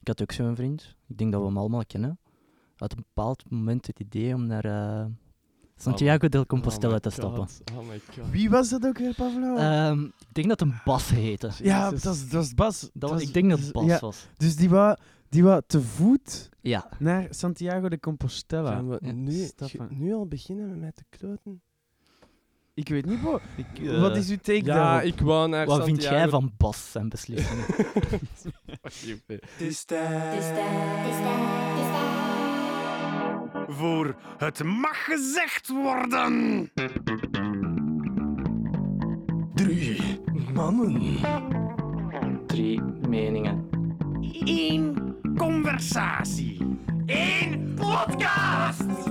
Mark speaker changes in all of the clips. Speaker 1: Ik had ook zo'n vriend. Ik denk dat we hem allemaal kennen. Had op een bepaald moment het idee om naar eh, Santiago del Compostela te stappen.
Speaker 2: Oh my god.
Speaker 3: Wie was dat ook, weer, Pavlo?
Speaker 1: Ehm, ik denk dat hem Bas heette.
Speaker 3: ja,
Speaker 2: Eh, Jezus.
Speaker 3: dat was, dat was Bas.
Speaker 1: Dat was,
Speaker 3: was-
Speaker 1: ik denk dat het Bas
Speaker 3: ja.
Speaker 1: was.
Speaker 3: Dus die was die wou te voet
Speaker 1: Ja.
Speaker 3: naar Santiago de Compostela.
Speaker 2: Gaan we
Speaker 1: Ja,
Speaker 2: nu,
Speaker 3: stappen.
Speaker 2: ge- nu al beginnen met mij te kloten?
Speaker 3: Ik weet niet, bro.
Speaker 1: Ik,
Speaker 3: Wat is uw take
Speaker 2: Eh, ja,
Speaker 3: daarop?
Speaker 2: ik wou naar
Speaker 1: Wat vind jij
Speaker 2: Santiago.
Speaker 1: van Bas zijn beslissingen?
Speaker 2: Het is tijd.
Speaker 4: Voor het mag gezegd worden. Drie mannen.
Speaker 1: Drie meningen.
Speaker 4: Eén conversatie. Eén podcast.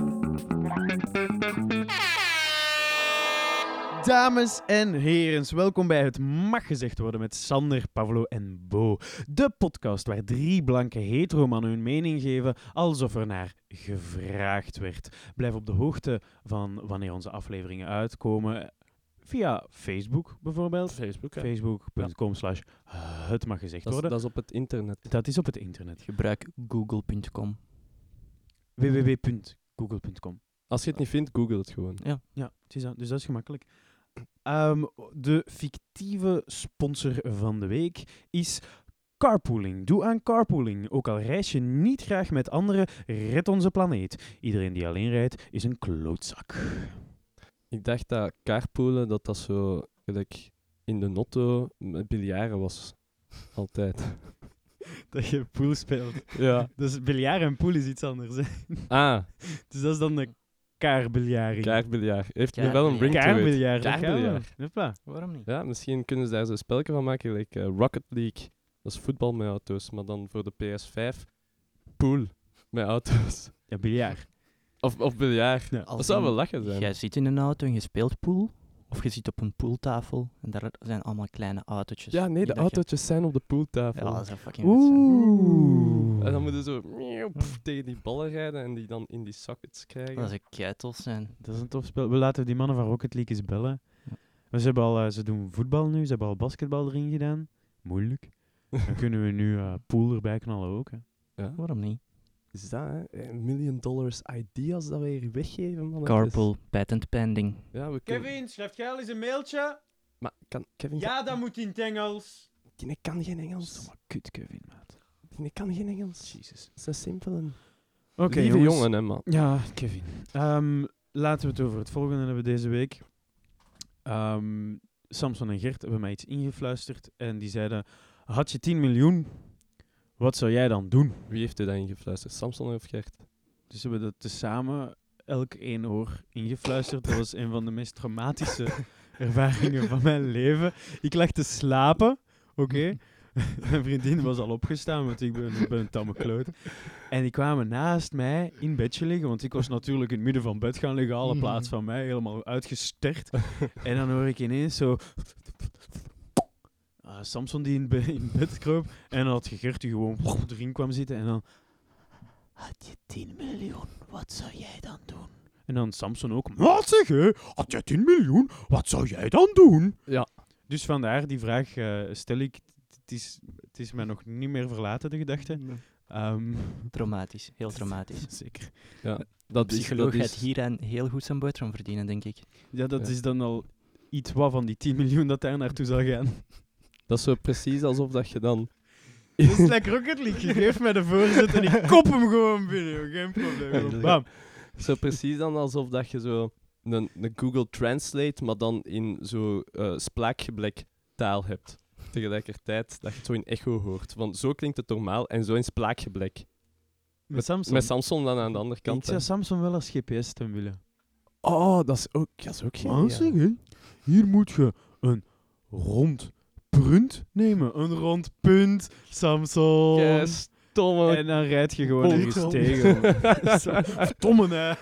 Speaker 3: Dames en heren, welkom bij Het Mag Gezegd Worden met Sander, Pavlo en Bo. De podcast waar drie blanke heteromannen hun mening geven alsof er naar gevraagd werd. Blijf op de hoogte van wanneer onze afleveringen uitkomen via Facebook bijvoorbeeld.
Speaker 2: Facebook, hè.
Speaker 3: Facebook.com slash Het Mag Gezegd
Speaker 2: dat, is,
Speaker 3: Worden.
Speaker 2: dat is op het internet.
Speaker 3: Dat is op het internet.
Speaker 1: Gebruik google.com.
Speaker 3: www.google.com
Speaker 2: Als je het niet vindt, google het gewoon.
Speaker 3: Ja, het is dat. Dus dat is gemakkelijk. Ehm, de fictieve sponsor van de week is carpooling. Doe aan carpooling. Ook al reis je niet graag met anderen, red onze planeet. Iedereen die alleen rijdt, is een klootzak.
Speaker 2: Ik dacht dat kaartpoelen, dat dat zo gelijk in de notto met biljaren was. Altijd.
Speaker 3: Dat je pool speelt.
Speaker 2: ja.
Speaker 3: Dus biljaren en pool is iets anders.
Speaker 2: Ah,
Speaker 3: Dus dat is dan de kaarbiljaring.
Speaker 2: kaartbiljaar. Heeft nu wel een ring
Speaker 1: Kaarbiljaar.
Speaker 2: to it.
Speaker 3: Kaarbiljaar. dat kan wel.
Speaker 2: Kaarbiljaar.
Speaker 3: Hoppa.
Speaker 1: Waarom niet?
Speaker 2: Ja, misschien kunnen ze daar zo spelken van maken, like eh, Rocket League. Dat is voetbal met auto's, maar dan voor de PS5 pool met auto's.
Speaker 3: Ja, biljaar.
Speaker 2: Of, of biljaar.
Speaker 3: Ja.
Speaker 1: Als
Speaker 2: Dat zou
Speaker 1: in-
Speaker 2: wel lachen zijn.
Speaker 1: Jij zit in een auto en je speelt pool. Of je zit op een pooltafel en daar zijn allemaal kleine autootjes.
Speaker 2: Ja, nee,
Speaker 1: Die
Speaker 2: de
Speaker 1: dat je-
Speaker 2: autootjes zijn op de pooltafel.
Speaker 1: Ja, dat is een fucking Oeh.
Speaker 3: Oeh.
Speaker 2: En dan moeten ze zo miauw, pff, tegen die ballen rijden en die dan in die sockets krijgen.
Speaker 1: Dat is een keitels zijn.
Speaker 3: Dat is een tof spel. We laten die mannen van Rocket League eens bellen.
Speaker 1: Ja.
Speaker 3: Maar Ze, hebben al, eh, ze doen voetbal nu, ze hebben al basketbal erin gedaan. Moeilijk. Dan kunnen we nu eh pool erbij knallen ook. Hè.
Speaker 2: ja.
Speaker 1: Waarom niet?
Speaker 2: Is dat, hè? Eh, Million dollars ideas dat we hier weggeven, man.
Speaker 1: Carpool, patent pending.
Speaker 2: Ja, we kunnen...
Speaker 3: schrijf jij al eens een mailtje?
Speaker 2: Maar kan, Kevin... kan-
Speaker 3: moet in het Engels.
Speaker 2: Die nek kan geen Engels.
Speaker 3: maar kut, Kevin, maat.
Speaker 2: Die nek kan geen Engels. Jezus. Zo simpel en...
Speaker 3: Oké,
Speaker 2: Lieve
Speaker 3: jongens.
Speaker 2: jongen, hè, man.
Speaker 3: Ja, Kevin. Ehm, laten we het over het volgende hebben deze week. Ehm, Samson en Gert hebben mij iets ingefluisterd en die zeiden... Had je 10 miljoen, wat zou jij dan doen?
Speaker 2: Wie heeft u dat ingefluisterd? Samson of Gert?
Speaker 3: Dus we hebben dat tezamen elk één oor ingefluisterd. Dat was een van de meest traumatische ervaringen van mijn leven. Ik lag te slapen, oké. Mijn vriendin was al opgestaan, want ik ben, ik ben een tamme kloot. En die kwamen naast mij in bedje liggen, want ik was natuurlijk in het midden van bed gaan liggen, alle plaats van mij, helemaal uitgestert. En dan hoor ik ineens zo... ah, Samson die in, be- in bed kroop en dan had Gert die gewoon erin kwam zitten en dan... Had je 10 miljoen, wat zou jij dan doen? En dan Samson ook. Wat zeg je? Had je 10 miljoen, wat zou jij dan doen?
Speaker 2: Ja.
Speaker 3: Dus vandaar die vraag eh, stel ik. Het is, het is mij nog niet meer verlaten, de gedachte. Ehm,
Speaker 1: Traumatisch, heel traumatisch.
Speaker 3: zeker.
Speaker 2: Dat is-
Speaker 1: Psycholoog
Speaker 2: dat
Speaker 1: gaat
Speaker 2: is-
Speaker 1: hieraan heel goed zijn boterham verdienen, denk ik.
Speaker 3: Ja, dat
Speaker 2: Ja.
Speaker 3: is dan al iets wat van die 10 miljoen dat daar naartoe zal gaan.
Speaker 2: Dat is zo precies alsof dat je dan...
Speaker 3: Dat is lekker Rocket League. Geef mij de voorzet en ik kop hem gewoon binnen. joh. Geen probleem. Bam.
Speaker 2: Zo precies dan alsof dat je zo een, een Google Translate, maar dan in zo eh spraakgebrek taal hebt. Tegelijkertijd dat je het zo in echo hoort. Want zo klinkt het normaal en zo in spraakgebrek.
Speaker 3: Met Samson.
Speaker 2: Met Samson dan aan de andere
Speaker 3: ik
Speaker 2: kant. hè.
Speaker 3: zou Samson wel als GPS ten willen.
Speaker 2: Oh, dat is ook, dat is ook
Speaker 3: Maar zeg, hè, hier moet je een rond punt nemen. Een rond punt, Samson.
Speaker 2: Ja, stomme.
Speaker 3: En dan rijd je gewoon ergens
Speaker 2: Punt.
Speaker 3: tegen. Verdomme, hè.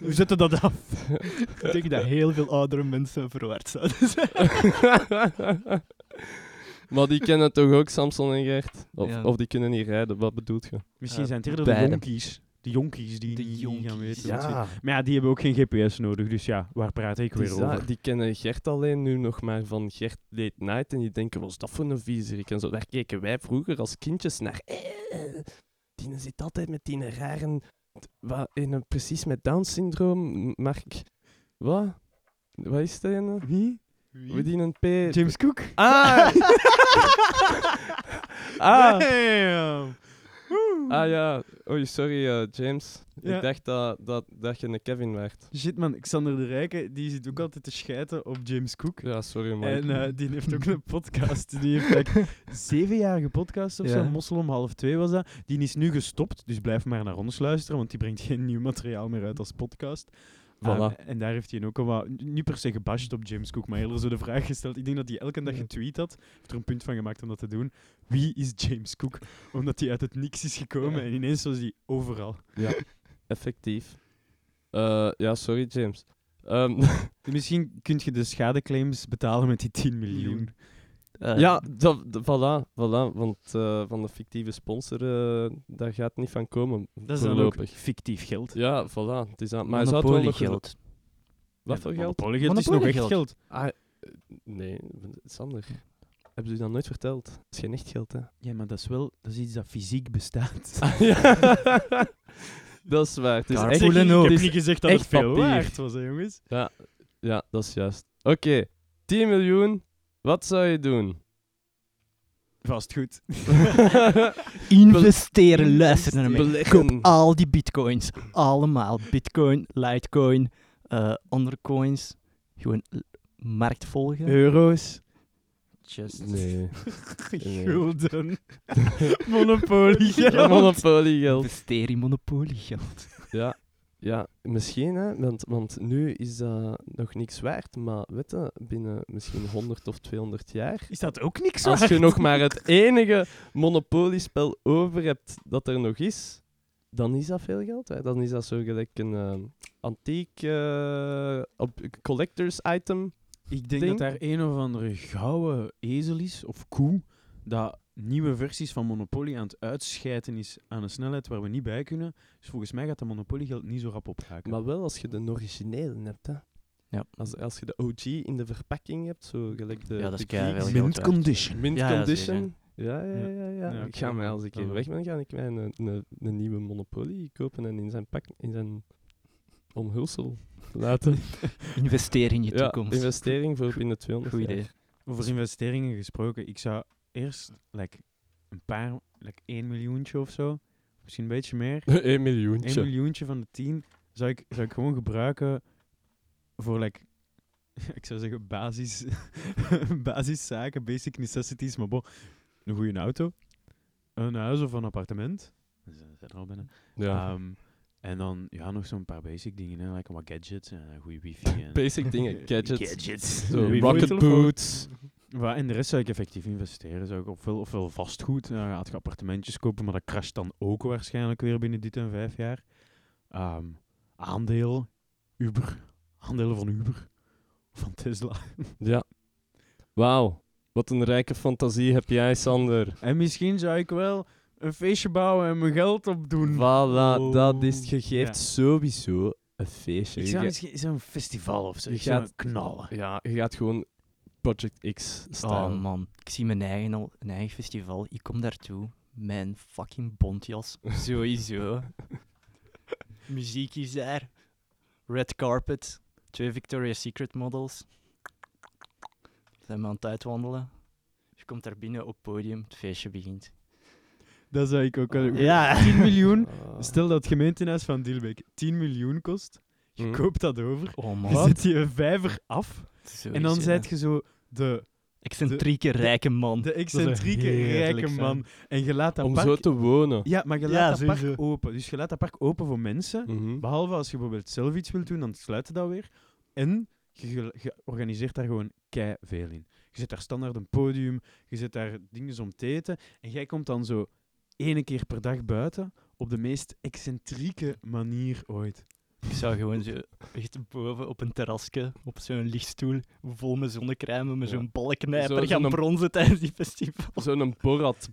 Speaker 3: Hoe zetten dat af? Ik denk dat heel veel oudere mensen verward zouden zijn.
Speaker 2: maar die kennen toch ook Samson en Gert? Of,
Speaker 1: Ja.
Speaker 2: of die kunnen niet rijden, wat bedoelt je?
Speaker 3: Misschien
Speaker 1: Eh,
Speaker 3: zijn het eerder de
Speaker 1: beide.
Speaker 3: jonkies. De jonkies die,
Speaker 5: De
Speaker 3: die gaan
Speaker 5: jonkies.
Speaker 3: weten. wat ze-
Speaker 2: Ja,
Speaker 3: Maar ja, die hebben ook geen GPS nodig, dus ja, waar praat ik
Speaker 2: die,
Speaker 3: weer
Speaker 2: za-
Speaker 3: over?
Speaker 2: die kennen Gert alleen nu nog maar van Gert Late Night. En die denken, wat is dat voor een viezerik? En zo, daar keken wij vroeger als kindjes naar. Eh, Tine zit altijd met die rare... Wat, in een, precies met Down-syndroom, Mark... Wat? Wat is dat? ene?
Speaker 3: Wie?
Speaker 2: Hoe die een P...
Speaker 3: James Cook?
Speaker 2: Ah! ah!
Speaker 3: Damn.
Speaker 2: Ah ja, oei, sorry eh, James.
Speaker 3: Ja.
Speaker 2: Ik dacht dat, dat, dat je een Kevin werd.
Speaker 3: Shit man, Xander de Rijke, die zit ook altijd te schijten op James Cook.
Speaker 2: Ja, sorry man.
Speaker 3: En eh, die heeft ook een podcast. Die heeft like, zevenjarige podcast of zo.
Speaker 1: Ja.
Speaker 3: Mossel om half twee was dat. Die is nu gestopt, dus blijf maar naar ons luisteren, want die brengt geen nieuw materiaal meer uit als podcast.
Speaker 2: Voilà.
Speaker 3: Ehm, en daar heeft hij ook al wat, niet per se gebashed op James Cook, maar eerder zo de vraag gesteld. Ik denk dat hij elke dag
Speaker 2: Ja.
Speaker 3: getweet had, heeft er een punt van gemaakt om dat te doen. Wie is James Cook? Omdat hij uit het niks is gekomen
Speaker 2: Ja.
Speaker 3: en ineens was hij overal.
Speaker 2: Effectief. Eh, ja, sorry James. Ehm,
Speaker 3: Misschien kun je de schadeclaims betalen met die 10 miljoen.
Speaker 1: Eh,
Speaker 2: ja, dat, dat- voilà, voilà. Want eh, van de fictieve sponsor, eh, daar gaat niet van komen.
Speaker 3: Dat is dan ook
Speaker 2: Voorlopig.
Speaker 3: fictief geld.
Speaker 2: Ja, voilà. Het is aan, maar hij zou het wel nog-
Speaker 1: monopoliegeld.
Speaker 2: Wat voor geld?
Speaker 3: Monopoliegeld is nog echt
Speaker 1: Monopoliegeld.
Speaker 3: geld.
Speaker 2: Ah, eh, nee, Sander. Hebben jullie dat nooit verteld? Het is geen echt geld, hè?
Speaker 3: Ja, maar dat is wel dat is iets dat fysiek bestaat.
Speaker 2: ja. dat is waar. Het is
Speaker 1: Daar
Speaker 2: echt,
Speaker 1: voelen ook.
Speaker 3: Ik heb
Speaker 2: het is
Speaker 3: niet gezegd dat het
Speaker 2: echt
Speaker 3: veel
Speaker 2: papier.
Speaker 3: waard was, hè, jongens.
Speaker 2: Ja, dat is juist. Oké, 10 miljoen. Wat zou je doen?
Speaker 3: Vast goed.
Speaker 1: Investeren, luisteren naar mij.
Speaker 2: Beleggen.
Speaker 1: Koop al die bitcoins. Allemaal. Bitcoin, Litecoin, eh andere coins. Gewoon eh, markt volgen.
Speaker 3: Euro's.
Speaker 1: Just.
Speaker 2: Nee. Nee.
Speaker 3: Gulden. Monopoliegeld.
Speaker 2: Ja, monopoliegeld.
Speaker 1: Investeer in monopoliegeld.
Speaker 2: Ja. ja, misschien hè, want, want nu is dat nog niks waard. Maar weet je, binnen misschien 100 of 200 jaar.
Speaker 3: Is dat ook niks
Speaker 2: Als je
Speaker 3: waard?
Speaker 2: nog maar het enige monopoliespel over hebt dat er nog is, dan is dat veel geld. Hè. Dan is dat zo gelijk een eh, antiek eh, op, collectors item.
Speaker 3: Ah, Ik denk
Speaker 2: Ding.
Speaker 3: dat daar een of andere gouden ezel is, of koe, dat nieuwe versies van Monopoly aan het uitscheiden is aan een snelheid waar we niet bij kunnen. Dus volgens mij gaat dat Monopoly-geld niet zo rap ophaken.
Speaker 2: Maar wel als je de originele hebt, hè.
Speaker 1: Ja.
Speaker 2: Als, als je de OG in de verpakking hebt, zo gelijk de
Speaker 1: Ja, dat is
Speaker 2: de Greeks.
Speaker 1: wel
Speaker 3: Mint
Speaker 1: geld waard.
Speaker 3: condition.
Speaker 2: Mint
Speaker 1: Ja, ja,
Speaker 2: condition. Ja, ja, ja.
Speaker 3: Ja.
Speaker 2: ja,
Speaker 3: Ja,
Speaker 2: ik ga
Speaker 3: oké.
Speaker 2: mij, als ik hier
Speaker 3: Dan-
Speaker 2: weg ben, ga ik mij een, een, een nieuwe Monopoly kopen en in zijn pak, in zijn omhulsel laten.
Speaker 1: Investeer in je
Speaker 2: ja,
Speaker 1: toekomst.
Speaker 2: investering voor binnen 200
Speaker 1: Goed
Speaker 2: jaar.
Speaker 1: idee.
Speaker 3: Over investeringen gesproken, ik zou eerst like, een paar, like 1 miljoentje of zo, misschien een beetje meer,
Speaker 2: 1 miljoentje.
Speaker 3: 1 miljoentje van de 10, zou ik, zou ik gewoon gebruiken voor, like, ik zou zeggen, basis, basiszaken, basic necessities, maar bon, een goede auto, een huis of een appartement, dat zijn er al bijna,
Speaker 1: Ah,
Speaker 2: ja.
Speaker 3: Ehm, en dan ja, nog zo'n paar basic dingen, hè, like wat gadgets en een goede wifi. En
Speaker 2: Basic dingen, gadgets.
Speaker 3: Gadgets.
Speaker 2: Zo,
Speaker 3: Wifi.
Speaker 2: rocket
Speaker 3: Telefoon.
Speaker 2: boots.
Speaker 3: Wa- en de rest zou ik effectief investeren. Zou ik ofwel, ofwel vastgoed, nou, gaat je appartementjes kopen, maar dat crasht dan ook waarschijnlijk weer binnen dit en vijf jaar. Ehm, aandeel, Uber, aandelen van Uber, van Tesla.
Speaker 2: Ja. Wauw. Wat een rijke fantasie heb jij, Sander.
Speaker 3: En misschien zou ik wel een feestje bouwen en mijn geld opdoen.
Speaker 2: Voilà,
Speaker 3: Oh.
Speaker 2: dat is het. Je geeft
Speaker 3: Ja.
Speaker 2: sowieso een feestje.
Speaker 3: Ik
Speaker 2: Je
Speaker 3: zou
Speaker 2: ge-
Speaker 3: misschien zo'n festival of zo,
Speaker 2: Je
Speaker 3: ik zou
Speaker 2: gaat-
Speaker 3: knallen.
Speaker 2: ja, je gaat gewoon Project X
Speaker 1: Oh
Speaker 2: staan.
Speaker 1: man, ik zie mijn eigen, al, een eigen festival. Ik kom daartoe. Mijn fucking bontjas. Sowieso. Muziek is daar. Red carpet. Twee Victoria's Secret models. Zijn we aan het uitwandelen. Je komt daar binnen op het podium. Het feestje begint.
Speaker 3: Dat zou ik ook wel...
Speaker 1: Ja.
Speaker 3: 10 miljoen.
Speaker 2: Ah.
Speaker 3: Stel dat het gemeentehuis van Dilbeek 10 miljoen kost, je
Speaker 2: Mm.
Speaker 3: koopt dat over,
Speaker 1: Oh
Speaker 3: je
Speaker 1: man.
Speaker 3: zet je een vijver af... En dan zijt je zo de,
Speaker 1: Excentrieke rijke man.
Speaker 3: de excentrieke
Speaker 1: heerlijk
Speaker 3: rijke
Speaker 1: zijn.
Speaker 3: man. En je laat dat
Speaker 2: Om
Speaker 3: park...
Speaker 2: zo te wonen.
Speaker 3: Ja, maar je laat
Speaker 1: Ja,
Speaker 3: dat park
Speaker 1: sowieso.
Speaker 3: open. Dus je laat dat park open voor mensen.
Speaker 2: Mhm.
Speaker 3: Behalve als je bijvoorbeeld zelf iets wilt doen, dan sluit je dat weer. En je, gel- je organiseert daar gewoon kei veel in. Je zet daar standaard een podium, je zet daar dingen om te eten. En jij komt dan zo ene keer per dag buiten op de meest excentrieke manier ooit.
Speaker 1: Ik zou gewoon zo echt boven op een terrasje, op zo'n lichtstoel, vol met zonnecrème, met
Speaker 2: Ja.
Speaker 1: zo'n balknijper
Speaker 2: Zo-
Speaker 1: gaan
Speaker 2: zo'n-
Speaker 1: bronzen tijdens die festival.
Speaker 2: Zo'n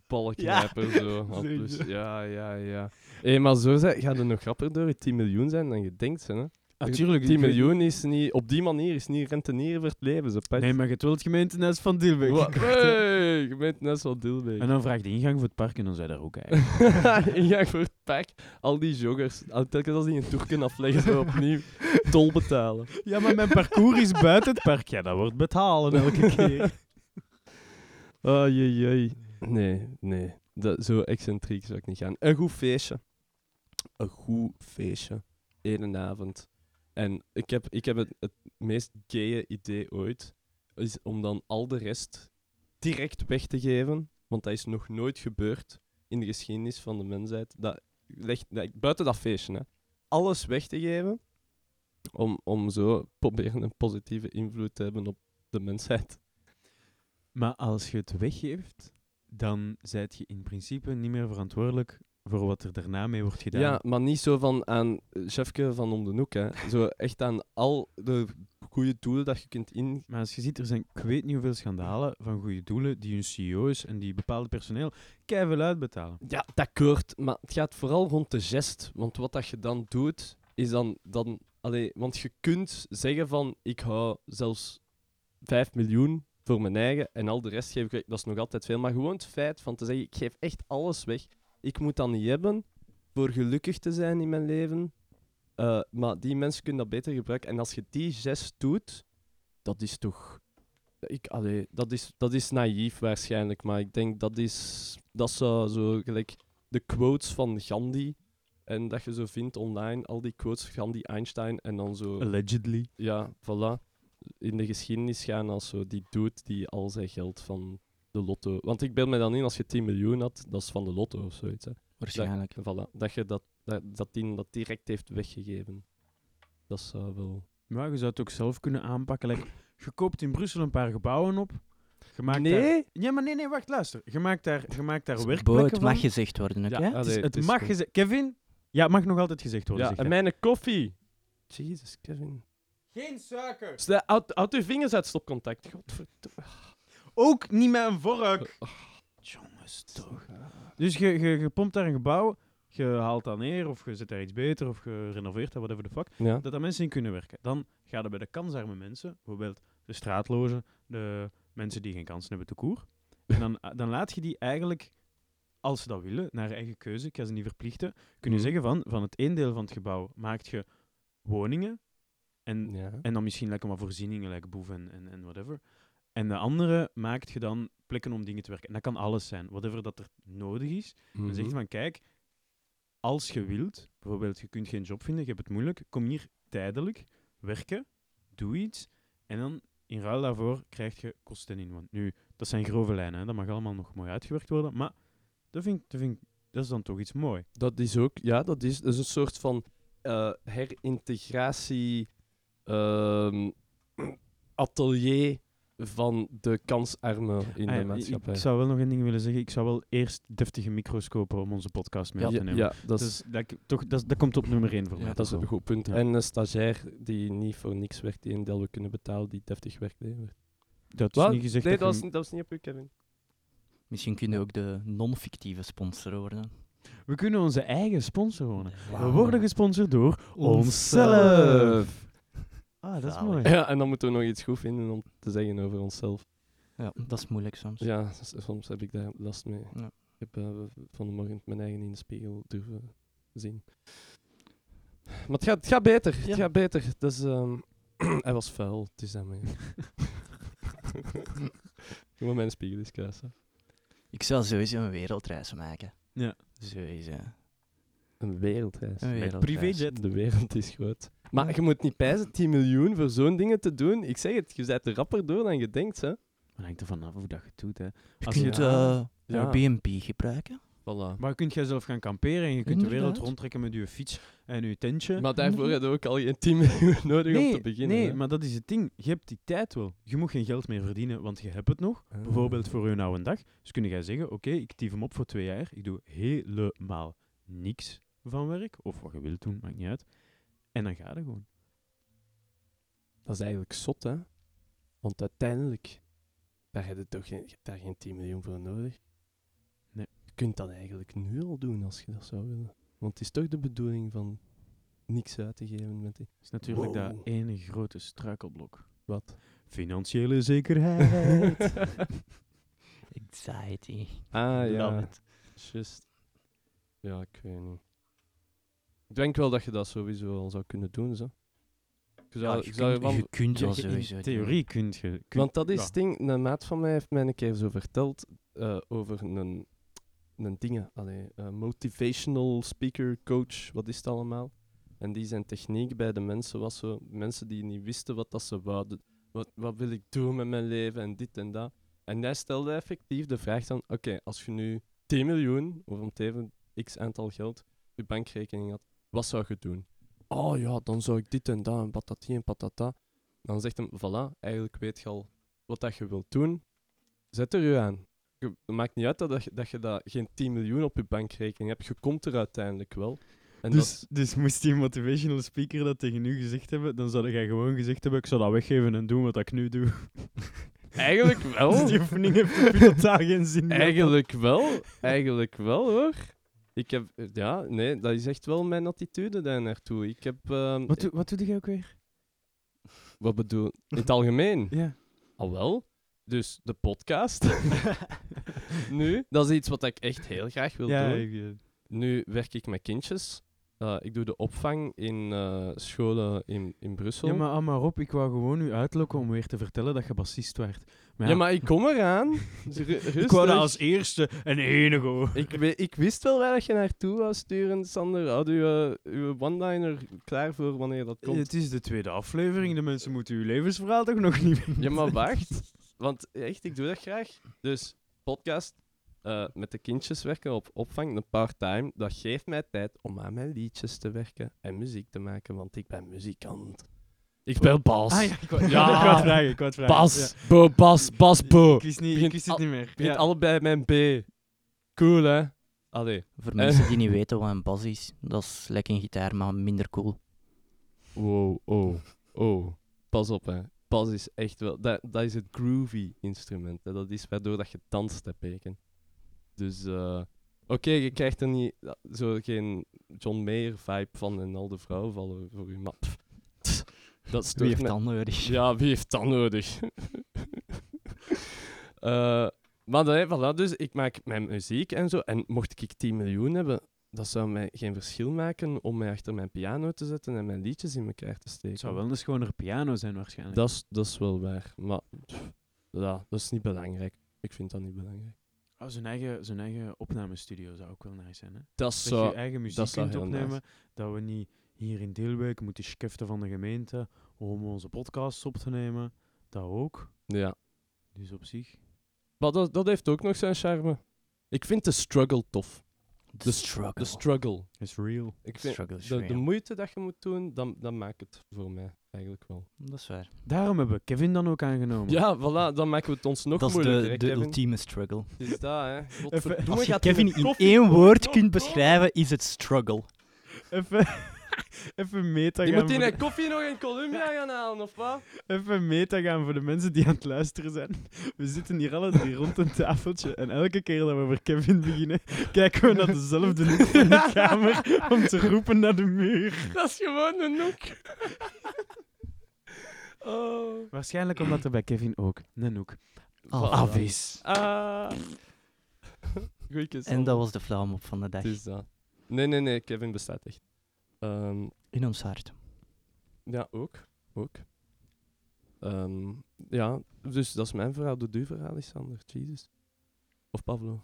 Speaker 2: Borat-balknijper. zo. aan
Speaker 1: Zo,
Speaker 2: plus.
Speaker 1: ja.
Speaker 2: Ja, ja, ja. Hé, maar zo zijn, gaat er nog grappiger door je 10 miljoen zijn dan je denkt. Hè?
Speaker 3: Natuurlijk.
Speaker 2: 10 miljoen is niet, op die manier is niet rentenier voor het leven. Zo pet.
Speaker 3: Nee, maar je wilt het gemeentehuis van Dilbeek.
Speaker 2: Wa- Hey, je bent net zo Dilbeek.
Speaker 3: En dan vraag de ingang voor het park en dan zijn daar ook eigenlijk.
Speaker 2: Ingang voor het park. Al die joggers. Al- Telkens als die een tour kunnen afleggen, zo opnieuw tol betalen.
Speaker 3: Ja, maar mijn parcours is buiten het park. Ja, dat wordt betalen elke keer.
Speaker 2: Oh, jee, jee. Nee, nee. Dat, zo excentriek zou ik niet gaan. Een goed feestje. Een goed feestje. Eén avond. En ik heb, ik heb het, het meest gaye idee ooit. Is om dan al de rest direct weg te geven. Want dat is nog nooit gebeurd in de geschiedenis van de mensheid. Dat, leg, dat, buiten dat feestje, hè. Alles weg te geven. Om, om zo proberen een positieve invloed te hebben op de mensheid.
Speaker 3: Maar als je het weggeeft, dan zijt je in principe niet meer verantwoordelijk voor wat er daarna mee wordt gedaan.
Speaker 2: Ja, maar niet zo van aan eh, chefke van om de hoek. Hè. Zo echt aan al de goede doelen dat je kunt in.
Speaker 3: Maar als je ziet, er zijn ik weet niet hoeveel schandalen van goede doelen die hun CEO's en die bepaalde personeel keihard uitbetalen.
Speaker 2: Ja, dat keurt. Maar het gaat vooral rond de gest. Want wat dat je dan doet, is dan. dan allee, want je kunt zeggen van ik hou zelfs 5 miljoen voor mijn eigen en al de rest geef ik weg. Dat is nog altijd veel. Maar gewoon het feit van te zeggen, ik geef echt alles weg. Ik moet dat niet hebben voor gelukkig te zijn in mijn leven. Eh, maar die mensen kunnen dat beter gebruiken. En als je die gest doet, dat is toch... Ik, allee, dat, is, dat is naïef waarschijnlijk, maar ik denk dat is... Dat zou zo gelijk de quotes van Gandhi... En dat je zo vindt online, al die quotes van Gandhi, Einstein en dan zo...
Speaker 3: Allegedly.
Speaker 2: Ja, voilà. In de geschiedenis gaan als zo die dude die al zijn geld van de lotto... Want ik beeld me dan in, als je 10 miljoen had, dat is van de lotto of zoiets. Hè.
Speaker 1: Waarschijnlijk.
Speaker 2: Voilà. Dat je dat, dat, dat die dat direct heeft weggegeven. Dat zou wel...
Speaker 3: Maar je zou het ook zelf kunnen aanpakken. Like, je koopt in Brussel een paar gebouwen op. Je maakt daar-
Speaker 2: nee?
Speaker 3: Ja, maar nee, nee, wacht, luister. Je maakt daar, je maakt daar werkplekken
Speaker 1: Bo, het
Speaker 3: van.
Speaker 1: mag gezegd worden, oké?
Speaker 2: Ja,
Speaker 3: Het, is-
Speaker 2: allee,
Speaker 3: het
Speaker 2: Ah, het is
Speaker 3: mag
Speaker 2: goed.
Speaker 3: gezegd... Kevin? Ja, het mag nog altijd gezegd worden.
Speaker 2: Ja,
Speaker 3: zeg
Speaker 2: en
Speaker 3: jij.
Speaker 2: mijn koffie. Jezus, Kevin.
Speaker 3: Geen suiker!
Speaker 2: Stel, Houd, houd uw vingers uit stopcontact. Godverdomme.
Speaker 3: Ook niet met een vork!
Speaker 2: Oh.
Speaker 3: Jongens, toch. Dus je, je, je pompt daar een gebouw, je haalt dat neer, of je zet daar iets beter, of je renoveert dat, whatever the fuck.
Speaker 2: Ja.
Speaker 3: dat daar mensen in kunnen werken. Dan gaan er bij de kansarme mensen, bijvoorbeeld de straatlozen, de mensen die geen kansen hebben te koer. En dan, dan laat je die eigenlijk, als ze dat willen, naar eigen keuze, ik ga ze niet verplichten, kunnen
Speaker 2: Mhm.
Speaker 3: zeggen van, van het één deel van het gebouw maakt je woningen en,
Speaker 2: Ja.
Speaker 3: en dan misschien lekker maar voorzieningen, lekker boeven en, en, en whatever. En de andere maakt je dan plekken om dingen te werken. En dat kan alles zijn, whatever dat er nodig is. Dan
Speaker 2: Mhm.
Speaker 3: zegt hij van, kijk, als je wilt, bijvoorbeeld je kunt geen job vinden, je hebt het moeilijk, kom hier tijdelijk werken, doe iets en dan in ruil daarvoor krijg je kosten in. Want nu, dat zijn grove lijnen, hè, dat mag allemaal nog mooi uitgewerkt worden, maar dat vind, ik- dat vind ik, dat is dan toch iets mooi.
Speaker 2: Dat is ook, ja, dat is, dat is een soort van eh, herintegratie ehm, atelier van de kansarmen in
Speaker 3: Ah ja,
Speaker 2: de
Speaker 3: ik-
Speaker 2: maatschappij.
Speaker 3: Ik zou wel nog een ding willen zeggen, ik zou wel eerst deftige micro's kopen om onze podcast mee
Speaker 2: ja,
Speaker 3: op te nemen.
Speaker 2: ja, dat is,
Speaker 3: Dus dat, ik- toch, dat, is- dat komt op nummer 1 voor
Speaker 2: ja,
Speaker 3: mij.
Speaker 2: dat is een goed punt.
Speaker 3: Ja.
Speaker 2: En een stagiair die niet voor niks werkt, die een deel we kunnen betalen, die deftig werk levert.
Speaker 3: Dat is
Speaker 2: Wat?
Speaker 3: niet gezegd
Speaker 2: Nee,
Speaker 3: dat
Speaker 2: dat
Speaker 3: je-
Speaker 2: was, niet- dat was niet op u, Kevin.
Speaker 1: Misschien kunnen we ook de non-fictieve sponsor worden.
Speaker 3: We kunnen onze eigen sponsor wonen. We
Speaker 2: Ah.
Speaker 3: worden gesponsord door
Speaker 1: Onszelf.
Speaker 3: Ah, dat is
Speaker 1: Zalig.
Speaker 3: mooi.
Speaker 2: Ja, en dan moeten we nog iets goed vinden om te zeggen over onszelf.
Speaker 1: Ja, dat is moeilijk soms.
Speaker 2: Ja, s- soms heb ik daar last mee.
Speaker 1: Ja.
Speaker 2: Ik heb eh, v- vanmorgen mijn eigen in de spiegel durven zien. Maar het gaat, het gaat beter.
Speaker 1: Ja.
Speaker 2: Het gaat beter. Dus, ehm, hij was vuil, het is daarmee. Ik moet mijn spiegel eens kruisen.
Speaker 1: Ik zou sowieso een wereldreis maken.
Speaker 3: Ja.
Speaker 1: Sowieso.
Speaker 2: Een wereldreis.
Speaker 1: Een
Speaker 3: Met
Speaker 1: wereldreis.
Speaker 3: privéjet.
Speaker 2: De wereld is groot. Maar je moet niet pijzen 10 miljoen voor zo'n dingen te doen. Ik zeg het, je bent er rapper door dan je denkt. Hè?
Speaker 3: Maar hangt er vanaf hoe dat je het doet, hè.
Speaker 1: Je
Speaker 3: Als
Speaker 1: kunt
Speaker 2: je-
Speaker 1: eh,
Speaker 2: Ja.
Speaker 1: Airbnb gebruiken.
Speaker 2: Voilà.
Speaker 3: Maar kun jij zelf gaan kamperen en je kunt de wereld
Speaker 1: Inderdaad.
Speaker 3: rondtrekken met je fiets en je tentje.
Speaker 2: Maar daarvoor hadden we ook al geen 10 miljoen nodig om
Speaker 3: nee,
Speaker 2: te beginnen.
Speaker 3: nee
Speaker 2: hè.
Speaker 3: maar dat is het ding. Je hebt die tijd wel. Je moet geen geld meer verdienen, want je hebt het nog.
Speaker 2: Ah.
Speaker 3: Bijvoorbeeld voor je oude dag. Dus kun jij zeggen, oké, ik tief hem op voor twee jaar. Ik doe helemaal niks van werk. Of wat je wilt doen, maakt niet uit. En dan gaat het gewoon.
Speaker 2: Dat is eigenlijk zot, hè? Want uiteindelijk, daar heb je toch geen, je hebt daar geen 10 miljoen voor nodig.
Speaker 3: Nee.
Speaker 2: Je kunt dat eigenlijk nu al doen als je dat zou willen. Want het is toch de bedoeling van niks uit te geven met die...
Speaker 3: Dat is
Speaker 2: Wow.
Speaker 3: natuurlijk dat ene grote struikelblok.
Speaker 2: Wat?
Speaker 3: Financiële zekerheid.
Speaker 1: Anxiety.
Speaker 2: Ah
Speaker 1: Love
Speaker 2: ja,
Speaker 1: it.
Speaker 2: just. Ja, ik weet niet. Ik denk wel dat je dat sowieso al zou kunnen doen, zo. Ik zou,
Speaker 1: Ja,
Speaker 2: ik
Speaker 1: Ah, je,
Speaker 2: zou
Speaker 1: kunt,
Speaker 2: ervan-
Speaker 1: je kunt
Speaker 2: Ja,
Speaker 1: dat
Speaker 2: je- in
Speaker 1: sowieso doen.
Speaker 3: Theorie kunt je... kun-
Speaker 2: Want dat is
Speaker 3: ja.
Speaker 2: het ding, een maat van mij heeft mij een keer zo verteld eh, over een, een dingen, allee, eh, motivational speaker, coach, wat is het allemaal? En die zijn techniek bij de mensen was zo, mensen die niet wisten wat dat ze wouden. Wat, wat wil ik doen met mijn leven en dit en dat. En hij stelde effectief de vraag dan, oké, als je nu 10 miljoen, of om teven x aantal geld, je bankrekening had, wat zou je doen? Oh ja, dan zou ik dit en dat en patati en patata. Dan zegt hem, voilà, eigenlijk weet je al wat dat je wilt doen, zet er je aan. Je- Het maakt niet uit dat, je- dat je dat geen 10 miljoen op je bankrekening hebt. Je komt er uiteindelijk wel. En dat
Speaker 3: Dus,
Speaker 2: is-
Speaker 3: dus moest die motivational speaker dat tegen u gezegd hebben, dan zou jij gewoon gezegd hebben, ik zou dat weggeven en doen wat ik nu doe.
Speaker 2: eigenlijk wel.
Speaker 3: Dus die oefening heeft totaal geen zin meer.
Speaker 2: Eigenlijk wel. Eigenlijk wel hoor. Ik heb, ja, nee, dat is echt wel mijn attitude daar naartoe. Ik heb, ehm,
Speaker 3: Wat, doe- wat doe jij ook weer?
Speaker 2: wat bedoel, in het algemeen.
Speaker 3: Ja.
Speaker 2: Al Ah, wel. Dus de podcast. nu, dat is iets wat ik echt heel graag wil
Speaker 3: ja,
Speaker 2: doen.
Speaker 3: ik, eh,
Speaker 2: Nu werk ik met kindjes. Eh, ik doe de opvang in eh, scholen in, in Brussel.
Speaker 3: ja, maar, ah, maar Rob, ik wou gewoon u uitlokken om weer te vertellen dat je bassist werd. Maar
Speaker 2: Ja, maar ik kom eraan. Ru-
Speaker 3: ik wou dat
Speaker 2: rustig.
Speaker 3: als eerste en enige hoor.
Speaker 2: ik, we- ik wist wel waar dat je naartoe was sturen, Sander. Houd uw, eh, uw one-liner klaar voor wanneer dat komt.
Speaker 3: Het is de tweede aflevering, de mensen moeten uw levensverhaal toch nog niet weten.
Speaker 2: Ja, maar wacht. Want echt, ik doe dat graag. Dus, podcast, eh, met de kindjes werken op opvang, een part-time. Dat geeft mij tijd om aan mijn liedjes te werken en muziek te maken, want ik ben muzikant. Ik speel bas.
Speaker 3: Ah ja, ik wou,
Speaker 2: Ja.
Speaker 3: ik wou het vragen, ik wou het vragen.
Speaker 2: Bas, bo, bas, bas, bo.
Speaker 3: Ik wist, niet, ik
Speaker 2: Begint
Speaker 3: wist het
Speaker 2: al-
Speaker 3: niet meer.
Speaker 2: Begint
Speaker 3: Ja.
Speaker 2: allebei mijn B. Cool, hè? Allee.
Speaker 1: Voor mensen die niet weten wat een bas is, dat is lekker een gitaar, maar minder cool.
Speaker 2: Wow, oh, oh. Pas op, hè. Bas is echt wel... Dat, dat is het groovy instrument. Hè. Dat is waardoor dat je danst, hè, Peken. Dus, eh... Oké, je krijgt er niet ja, zo geen John Mayer vibe van en al de vrouwen vallen voor je map.
Speaker 1: Wie
Speaker 2: Dat stoort
Speaker 1: heeft
Speaker 2: me
Speaker 1: dat nodig?
Speaker 2: Ja, wie heeft dat nodig? Eh, maar dan, voilà, dus ik maak mijn muziek en zo. En mocht ik 10 miljoen hebben, dat zou mij geen verschil maken om mij achter mijn piano te zetten en mijn liedjes in elkaar te steken.
Speaker 3: Het zou wel een schoner piano zijn waarschijnlijk.
Speaker 2: Dat is, dat is wel waar. Maar pff, ja, dat is niet belangrijk. Ik vind dat niet belangrijk.
Speaker 3: Oh, zijn, eigen, zijn eigen opnamestudio zou ook wel nice zijn, hè?
Speaker 2: Dat
Speaker 3: Dat
Speaker 2: zou...
Speaker 3: je eigen muziek
Speaker 2: dat zou
Speaker 3: kunt
Speaker 2: heel nice
Speaker 3: opnemen. Dat we niet hier in Deelwijk moeten scheften van de gemeente om onze podcasts op te nemen. Dat ook.
Speaker 2: Ja.
Speaker 3: Dus op zich.
Speaker 2: Maar dat, dat heeft ook nog zijn charme. Ik vind de struggle tof.
Speaker 1: The struggle.
Speaker 2: De struggle.
Speaker 3: Is real.
Speaker 2: Ik vind
Speaker 1: struggle is
Speaker 2: de, de
Speaker 1: real.
Speaker 2: moeite dat je moet doen, dan, dan maakt het voor mij eigenlijk wel.
Speaker 1: Dat is waar.
Speaker 3: Daarom hebben we Kevin dan ook aangenomen.
Speaker 2: Ja, voilà, dan maken we het ons nog
Speaker 1: dat is
Speaker 2: moeilijker.
Speaker 1: de,
Speaker 2: hè,
Speaker 1: de
Speaker 2: Kevin?
Speaker 1: ultieme struggle.
Speaker 2: Het is dat, hè. Godverdomme,
Speaker 1: Als je
Speaker 2: gaat hij
Speaker 1: Kevin
Speaker 2: met
Speaker 1: in
Speaker 2: koffie-
Speaker 1: één woord kunt beschrijven, is het struggle.
Speaker 3: Even, even, meta
Speaker 2: Die
Speaker 3: gaan
Speaker 2: moet in
Speaker 3: voor,
Speaker 2: een koffie nog in Colombia gaan halen, of wat?
Speaker 3: even meta gaan voor de mensen die aan het luisteren zijn. We zitten hier alle drie rond een tafeltje. En elke keer dat we over Kevin beginnen, kijken we naar dezelfde hoek van de kamer om te roepen naar de muur.
Speaker 2: Dat is gewoon een noek. oh.
Speaker 3: Waarschijnlijk omdat er bij Kevin ook een hoek
Speaker 1: Ah,
Speaker 2: Voilà.
Speaker 1: af
Speaker 3: is.
Speaker 2: Ah. Goeie kus,
Speaker 1: En dat was de flauwmop van de dag.
Speaker 2: Het is dat. Nee, nee, nee, Kevin bestaat echt. Ehm,
Speaker 1: In ons hart.
Speaker 2: ja, ook. Ook. Ehm, ja, dus dat is mijn verhaal. Doe duur verhaal, is Sander. Jesus. Of Pablo.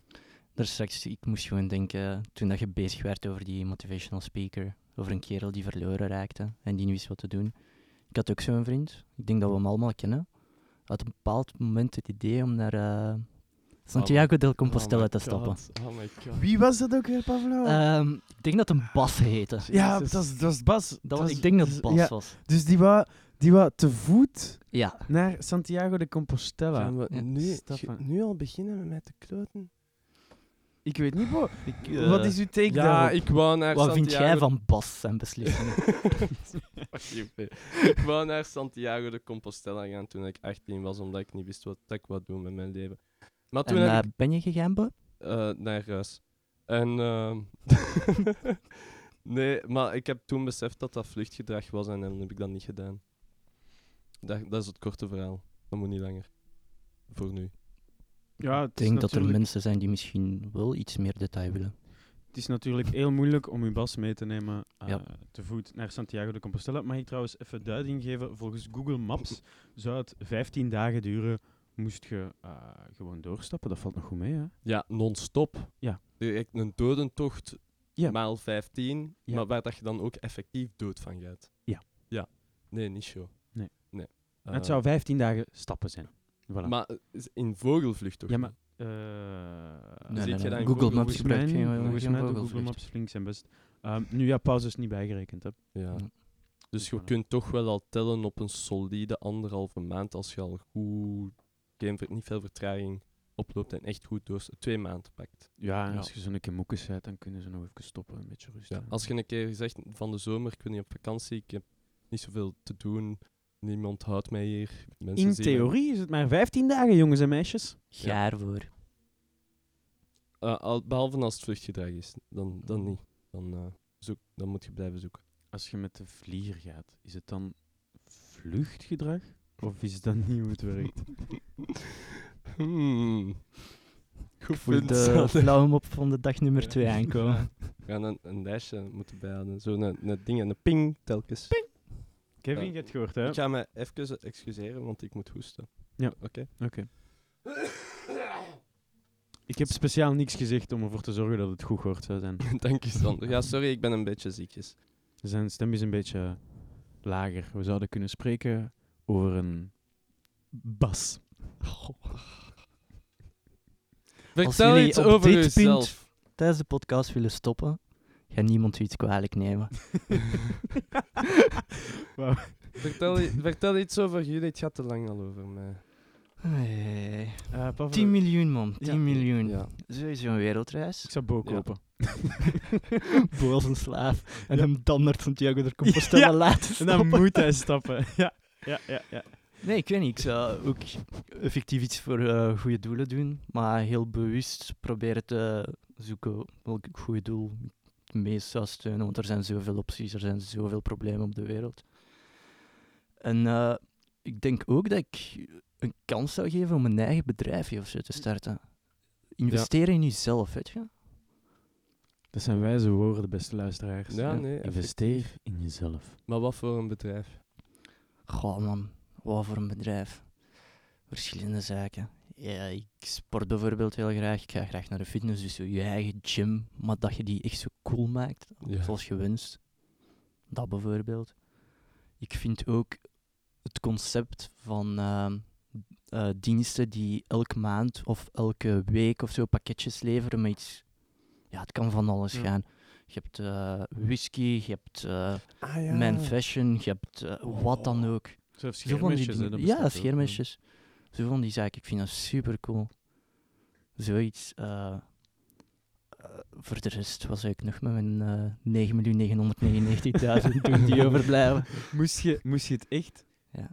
Speaker 1: Daar straks, ik moest gewoon denken, toen dat je bezig werd over die motivational speaker, over een kerel die verloren raakte en die niet wist wat te doen. Ik had ook zo'n vriend, ik denk dat we hem allemaal kennen. Had op een bepaald moment het idee om naar eh, Santiago del Compostela
Speaker 2: my
Speaker 1: te stappen.
Speaker 2: God, Oh my god.
Speaker 3: Wie was dat ook weer, Pavlo?
Speaker 1: Ehm, ik denk dat hem Bas heette.
Speaker 3: ja,
Speaker 2: Jezus.
Speaker 3: dat was, dat was Bas.
Speaker 1: Dat was,
Speaker 3: was-
Speaker 1: ik denk dat
Speaker 3: dus-
Speaker 1: het Bas
Speaker 3: ja.
Speaker 1: was.
Speaker 3: Dus die was die wa te voet
Speaker 1: Ja,
Speaker 3: naar Santiago de Compostela.
Speaker 2: Gaan we
Speaker 1: Ja,
Speaker 2: nu,
Speaker 3: Stefan.
Speaker 2: ge- nu al beginnen met mij te kloten?
Speaker 3: Ik weet niet, bro.
Speaker 1: Ik,
Speaker 3: Wat
Speaker 1: eh,
Speaker 3: is uw take
Speaker 2: ja,
Speaker 3: daarop?
Speaker 2: ik wou naar
Speaker 1: wat vind
Speaker 2: Santiago.
Speaker 1: jij van Bas zijn beslissingen?
Speaker 2: Fuck you, man. ik wou naar Santiago de Compostela gaan toen ik 18 was, omdat ik niet wist wat dat ik wou doen met mijn leven. Maar
Speaker 1: en
Speaker 2: toen heb
Speaker 1: eh, ben je gegaan, Bob?
Speaker 2: eh, naar huis. En ehm, nee, maar ik heb toen beseft dat dat vluchtgedrag was en dan heb ik dat niet gedaan. Dat, dat is het korte verhaal. Dat moet niet langer. Voor nu.
Speaker 3: Ja,
Speaker 1: Ik
Speaker 3: het is
Speaker 1: denk dat er
Speaker 3: Dus natuurlijk-
Speaker 1: mensen zijn die misschien wel iets meer detail willen.
Speaker 3: Het is natuurlijk heel moeilijk om uw bas mee te nemen eh,
Speaker 1: Ja.
Speaker 3: te voet naar Santiago de Compostela. Mag ik trouwens even duiding geven? Volgens Google Maps zou het 15 dagen duren, moest je eh, gewoon doorstappen. Dat valt nog goed mee, hè?
Speaker 2: Ja, non-stop.
Speaker 3: Ja.
Speaker 2: Direct een dodentocht
Speaker 3: Ja.
Speaker 2: maal 15,
Speaker 3: Ja.
Speaker 2: maar waar dat je dan ook effectief dood van gaat.
Speaker 3: Ja.
Speaker 2: Ja. Nee, niet zo.
Speaker 3: Nee.
Speaker 2: nee.
Speaker 3: het
Speaker 2: Eh,
Speaker 3: zou 15 dagen stappen zijn. Voilà.
Speaker 2: Maar eh, is in vogelvlucht toch?
Speaker 3: Ja,
Speaker 2: niet?
Speaker 3: maar... eh,
Speaker 2: Nee, zie nee, ik je nee. dan
Speaker 1: Google
Speaker 2: Google
Speaker 1: Maps
Speaker 3: Volgens mij,
Speaker 1: gebruikt geen,
Speaker 3: niet. volgens
Speaker 1: geen
Speaker 3: mij doet
Speaker 1: vogels
Speaker 3: Google
Speaker 1: echt.
Speaker 3: Maps flink zijn best. Ehm, nu ja, pauze is niet bijgerekend. Hè.
Speaker 2: Ja.
Speaker 1: Ja.
Speaker 2: Dus je
Speaker 3: Voilà.
Speaker 2: kunt toch wel al tellen op een solide anderhalve maand als je al goed, geen, ver- niet veel vertraging oploopt en echt goed door twee maanden pakt.
Speaker 3: Ja, en
Speaker 1: Ja.
Speaker 3: als je zo'n keer moekes bent, dan kunnen ze nog even stoppen. Een beetje rustig.
Speaker 2: Ja. Als je een keer zegt van de zomer, ik wil niet op vakantie, ik heb niet zoveel te doen, niemand houdt mij hier. Mensen
Speaker 3: In
Speaker 2: zien mij-
Speaker 3: theorie is het maar 15 dagen, jongens en meisjes.
Speaker 1: Ga
Speaker 2: Ja.
Speaker 1: ervoor.
Speaker 2: Eh, al- behalve als het vluchtgedrag is, dan, dan niet. Dan, eh, zoek, dan moet je blijven zoeken.
Speaker 3: Als je met de vlieger gaat, is het dan vluchtgedrag? Of is dat niet hoe het werkt?
Speaker 2: Hmm. Goed
Speaker 1: Ik voel
Speaker 2: punt,
Speaker 1: de
Speaker 2: Sander.
Speaker 1: flauwmop van de dag nummer
Speaker 2: Ja.
Speaker 1: 2 aankomen.
Speaker 2: We gaan een, een lijstje moeten bijhouden. Zo'n een ding en een ping telkens.
Speaker 3: Kevin,
Speaker 2: Ja.
Speaker 3: je hebt gehoord, hè?
Speaker 2: Ik ga me even excuseren, want ik moet hoesten.
Speaker 3: Ja.
Speaker 2: Oké.
Speaker 3: Ik heb speciaal niks gezegd om ervoor te zorgen dat het goed gehoord zou zijn.
Speaker 2: Dank je, Sander. Ja, sorry, ik ben een beetje ziekjes.
Speaker 3: Zijn stem is een beetje lager. We zouden kunnen spreken over een bas.
Speaker 2: Vertel
Speaker 1: jullie
Speaker 2: iets
Speaker 1: op
Speaker 2: over
Speaker 1: dit
Speaker 2: jezelf.
Speaker 1: Tijdens de podcast willen stoppen, ga niemand u iets kwalijk nemen.
Speaker 2: Vertel, i- vertel iets over jullie. Het gaat te lang al over mij.
Speaker 1: Hey.
Speaker 3: Eh, Pavel,
Speaker 1: 10 miljoen, man. 10
Speaker 3: Ja.
Speaker 1: miljoen.
Speaker 2: Ja.
Speaker 1: Sowieso een wereldreis.
Speaker 3: ik zou Bo
Speaker 2: Ja.
Speaker 3: kopen.
Speaker 1: Bo als een slaaf. En
Speaker 3: Ja.
Speaker 1: hem dan naar Santiago de Compostela
Speaker 3: Ja.
Speaker 1: laten
Speaker 3: En dan
Speaker 1: stappen.
Speaker 3: moet hij stappen. Ja, ja, ja. ja.
Speaker 1: Nee, ik weet niet. Ik zou ook effectief iets voor eh, goede doelen doen. Maar heel bewust proberen te zoeken welk goede doel het meest zou steunen. Want er zijn zoveel opties, er zijn zoveel problemen op de wereld. En eh, ik denk ook dat ik een kans zou geven om een eigen bedrijfje of zo te starten. Investeren in jezelf, weet je.
Speaker 3: Dat zijn wijze woorden, beste luisteraars.
Speaker 2: Ja, nee,
Speaker 3: Investeer in jezelf.
Speaker 2: Maar wat voor een bedrijf?
Speaker 1: Goh man, wat voor een bedrijf. Verschillende zaken. Ja, ik sport bijvoorbeeld heel graag. Ik ga graag naar de fitness, dus zo je eigen gym. Maar dat je die echt zo cool maakt,
Speaker 2: Ja.
Speaker 1: zoals je wenst. Dat bijvoorbeeld. Ik vind ook het concept van ehm, eh, diensten die elke maand of elke week of zo pakketjes leveren met iets... Ja, het kan van alles
Speaker 3: Ja.
Speaker 1: gaan. Je hebt eh, whisky, je hebt eh
Speaker 2: Ah, ja. Oh.
Speaker 1: man fashion, je hebt eh, wat dan ook.
Speaker 3: Zo
Speaker 1: Zo van die dingen- ja, scheermesjes. Zo van die zaken. Ik vind dat super cool. Zoiets. eh, eh, voor de rest was ik nog met mijn eh 9.999.000 toen die overblijven.
Speaker 3: Moest je, moest je het echt...
Speaker 1: Ja.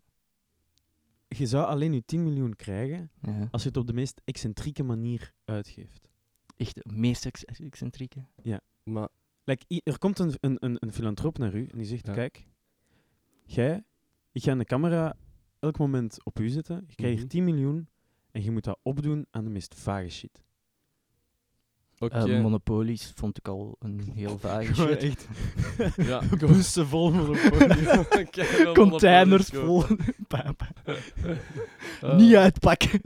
Speaker 3: Je zou alleen je 10 miljoen krijgen
Speaker 1: Ja,
Speaker 3: als je het op de meest excentrieke manier uitgeeft.
Speaker 1: echt de meest ex- excentrieke.
Speaker 2: Maar
Speaker 3: Like, i- er komt een, een, een, een filantroop naar u en die zegt,
Speaker 2: Ja.
Speaker 3: kijk, jij, ik ga een camera elk moment op u zetten, je krijgt
Speaker 2: Mhm.
Speaker 3: 10 miljoen en je moet dat opdoen aan de meest vage shit.
Speaker 2: oké.
Speaker 1: Eh, Monopolies vond ik al een heel vage
Speaker 3: Gewoon
Speaker 1: shit.
Speaker 3: echt
Speaker 2: ja.
Speaker 3: bussen vol monopolie.
Speaker 2: Kijk, wel
Speaker 1: Containers vol.
Speaker 2: monopolies
Speaker 1: Pa- pa-
Speaker 2: kopen. Eh,
Speaker 1: Niet uitpakken.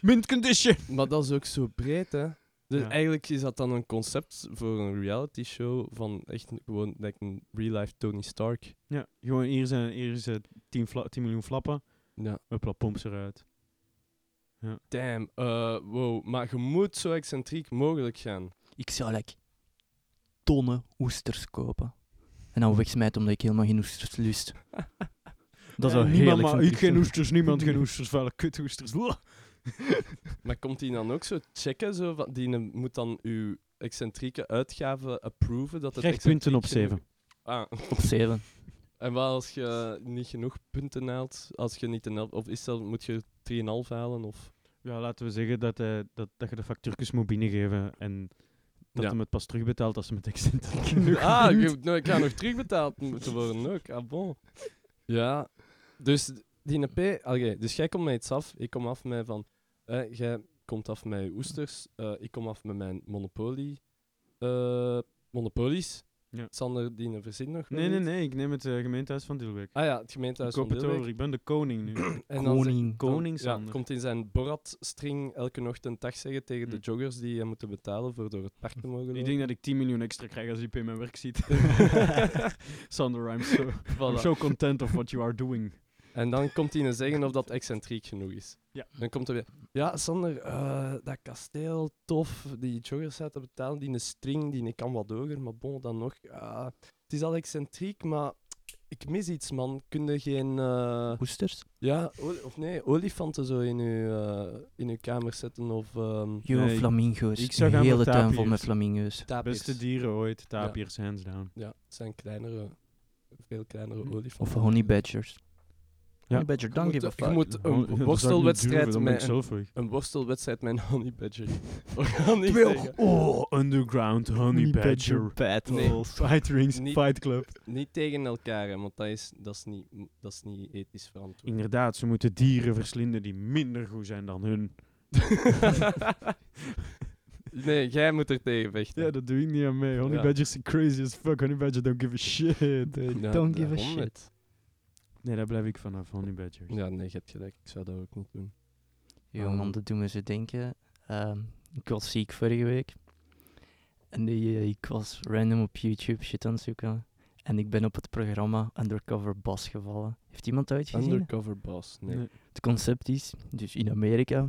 Speaker 3: Mint condition.
Speaker 2: Maar dat is ook zo breed, hè? Dus
Speaker 3: Ja.
Speaker 2: eigenlijk is dat dan een concept voor een reality show van echt een- gewoon like een real-life Tony Stark.
Speaker 3: Ja, gewoon hier zijn, hier is eh, 10, fla- 10 miljoen flappen,
Speaker 2: Ja.
Speaker 3: huppla, pomp ze eruit.
Speaker 2: Damn, eh, wow. Maar je moet zo excentriek mogelijk gaan.
Speaker 1: Ik zou like, tonnen oesters kopen. En dan wegsmijten omdat ik helemaal geen oesters lust. Eh, Dat zou
Speaker 3: Eh,
Speaker 1: heerlijk
Speaker 3: niemand, maar
Speaker 1: zijn.
Speaker 3: ik geen oesters, niemand geen oesters, vuile kutoesters. Blah.
Speaker 2: Maar komt die dan ook zo checken? Zo, van- die ne- moet dan uw excentrieke uitgave approven? Dat het
Speaker 3: Krijg punten op
Speaker 2: excentriek
Speaker 3: 7.
Speaker 2: genoeg- Ah,
Speaker 1: Op 7.
Speaker 2: en wat als je niet genoeg punten haalt? Als je niet een elf, of is dat, moet je 3,5 halen? Of?
Speaker 3: Ja, laten we zeggen dat, hij- dat, dat je de factuurtjes moet binnengeven en dat
Speaker 2: Ja.
Speaker 3: hem het pas terugbetaalt als hem het excentriek genoeg
Speaker 2: ah, ik,
Speaker 3: verdient.
Speaker 2: heb- nou, ik ga nog terugbetaald moeten worden ook. Ah, bon. Ja, dus die P. Allee, dus jij komt met iets af. Ik kom af met van. eh, jij komt af met je oesters. eh, ik kom af met mijn Monopoly. eh, monopolies.
Speaker 3: Ja.
Speaker 2: Sander, die verzin nog. wel
Speaker 3: Nee, nee,
Speaker 2: iets?
Speaker 3: nee, ik neem het eh, gemeentehuis van Dilwijk.
Speaker 2: Ah ja, het
Speaker 3: ik
Speaker 2: gemeentehuis
Speaker 3: koop
Speaker 2: van
Speaker 3: het
Speaker 2: Dilbeek.
Speaker 3: over, ik ben de koning nu.
Speaker 2: En dan zegt-
Speaker 1: Koning.
Speaker 2: dan-
Speaker 3: Koning
Speaker 2: ja,
Speaker 3: Sander.
Speaker 2: komt in zijn Borat-string elke ochtend dag zeggen tegen de
Speaker 3: Hm.
Speaker 2: joggers die hem moeten betalen voor door het park te mogen
Speaker 3: ik
Speaker 2: lopen.
Speaker 3: denk dat ik 10 miljoen extra krijg als IP in mijn werk ziet. Sander, I'm so, I'm
Speaker 2: Voilà.
Speaker 3: so content of what you are doing.
Speaker 2: En dan komt hij zeggen of dat excentriek genoeg is.
Speaker 3: Ja.
Speaker 2: Dan komt er weer. Ja, Sander, eh, dat kasteel, tof. Die joggers uit te betalen, die een string, die een kan wat hoger, maar bon, dan nog. ah, het is al excentriek, maar ik mis iets, man. Kun je geen. eh,
Speaker 1: Oesters.
Speaker 2: ja, o- of nee, olifanten zo in uw, eh, in uw kamer zetten of. ehm
Speaker 1: Yo,
Speaker 3: Nee, ik-
Speaker 1: flamingo's.
Speaker 3: ik zou
Speaker 1: Een
Speaker 3: gaan voor
Speaker 1: hele tuin vol
Speaker 3: tapirs.
Speaker 1: met flamingo's.
Speaker 2: tapirs.
Speaker 3: Beste dieren ooit, tapirs, hands down.
Speaker 2: Ja, het zijn kleinere, veel kleinere
Speaker 3: Hm.
Speaker 2: olifanten.
Speaker 1: Of honey badgers. Honey badger,
Speaker 2: Je
Speaker 1: don't
Speaker 2: moet,
Speaker 1: give a
Speaker 2: je
Speaker 1: fuck.
Speaker 2: moet
Speaker 3: Hon- dat zou ik
Speaker 2: een
Speaker 3: niet durven,
Speaker 2: worstelwedstrijd
Speaker 3: dan ben ik
Speaker 2: met.
Speaker 3: zelf weg.
Speaker 2: Een worstelwedstrijd met een honey badger. organiseren.
Speaker 3: Wel, Oh, Underground Honey Badger.
Speaker 2: Nee.
Speaker 3: Fight Rings,
Speaker 2: Niet-
Speaker 3: Fight Club.
Speaker 2: Niet tegen elkaar, hè, want dat is, dat is, niet, dat is niet ethisch verantwoord.
Speaker 3: Inderdaad, ze moeten dieren verslinden die minder goed zijn dan hun.
Speaker 2: nee, jij moet er tegen vechten.
Speaker 3: Ja, dat doe ik niet aan mee. Honey
Speaker 2: Ja.
Speaker 3: Badgers zijn crazy as fuck. Honey Badger don't give a shit.
Speaker 2: Ja,
Speaker 1: Don't give a
Speaker 2: daarom
Speaker 1: shit.
Speaker 2: het.
Speaker 3: Nee, daar blijf ik vanaf, Honey Badgers.
Speaker 2: Ja, nee, je hebt gelijk. Ik zou dat ook niet doen.
Speaker 1: Jongen,
Speaker 2: Ehm.
Speaker 1: dat doen we ze denken. Ehm, ik was ziek vorige week. En die, eh, ik was random op YouTube shit aan het zoeken. En ik ben op het programma Undercover Boss gevallen. Heeft iemand dat uitgezien?
Speaker 2: Undercover boss, nee.
Speaker 3: Nee.
Speaker 1: Het concept is, dus in Amerika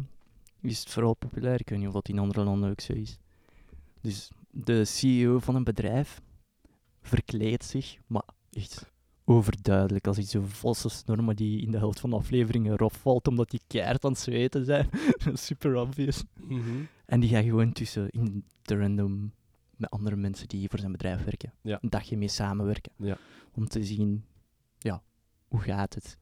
Speaker 1: is het vooral populair. Ik weet niet of dat in andere landen ook zo is. Dus de CEO van een bedrijf verkleedt zich, maar echt overduidelijk als iets zo valse snormen die in de helft van de afleveringen rof valt omdat die keihard aan het zweten zijn. Super obvious.
Speaker 2: Mhm.
Speaker 1: En die gaat gewoon tussen in de random met andere mensen die voor zijn bedrijf werken.
Speaker 2: Ja.
Speaker 1: Een dagje mee samenwerken.
Speaker 2: Ja.
Speaker 1: Om te zien, ja, hoe gaat het?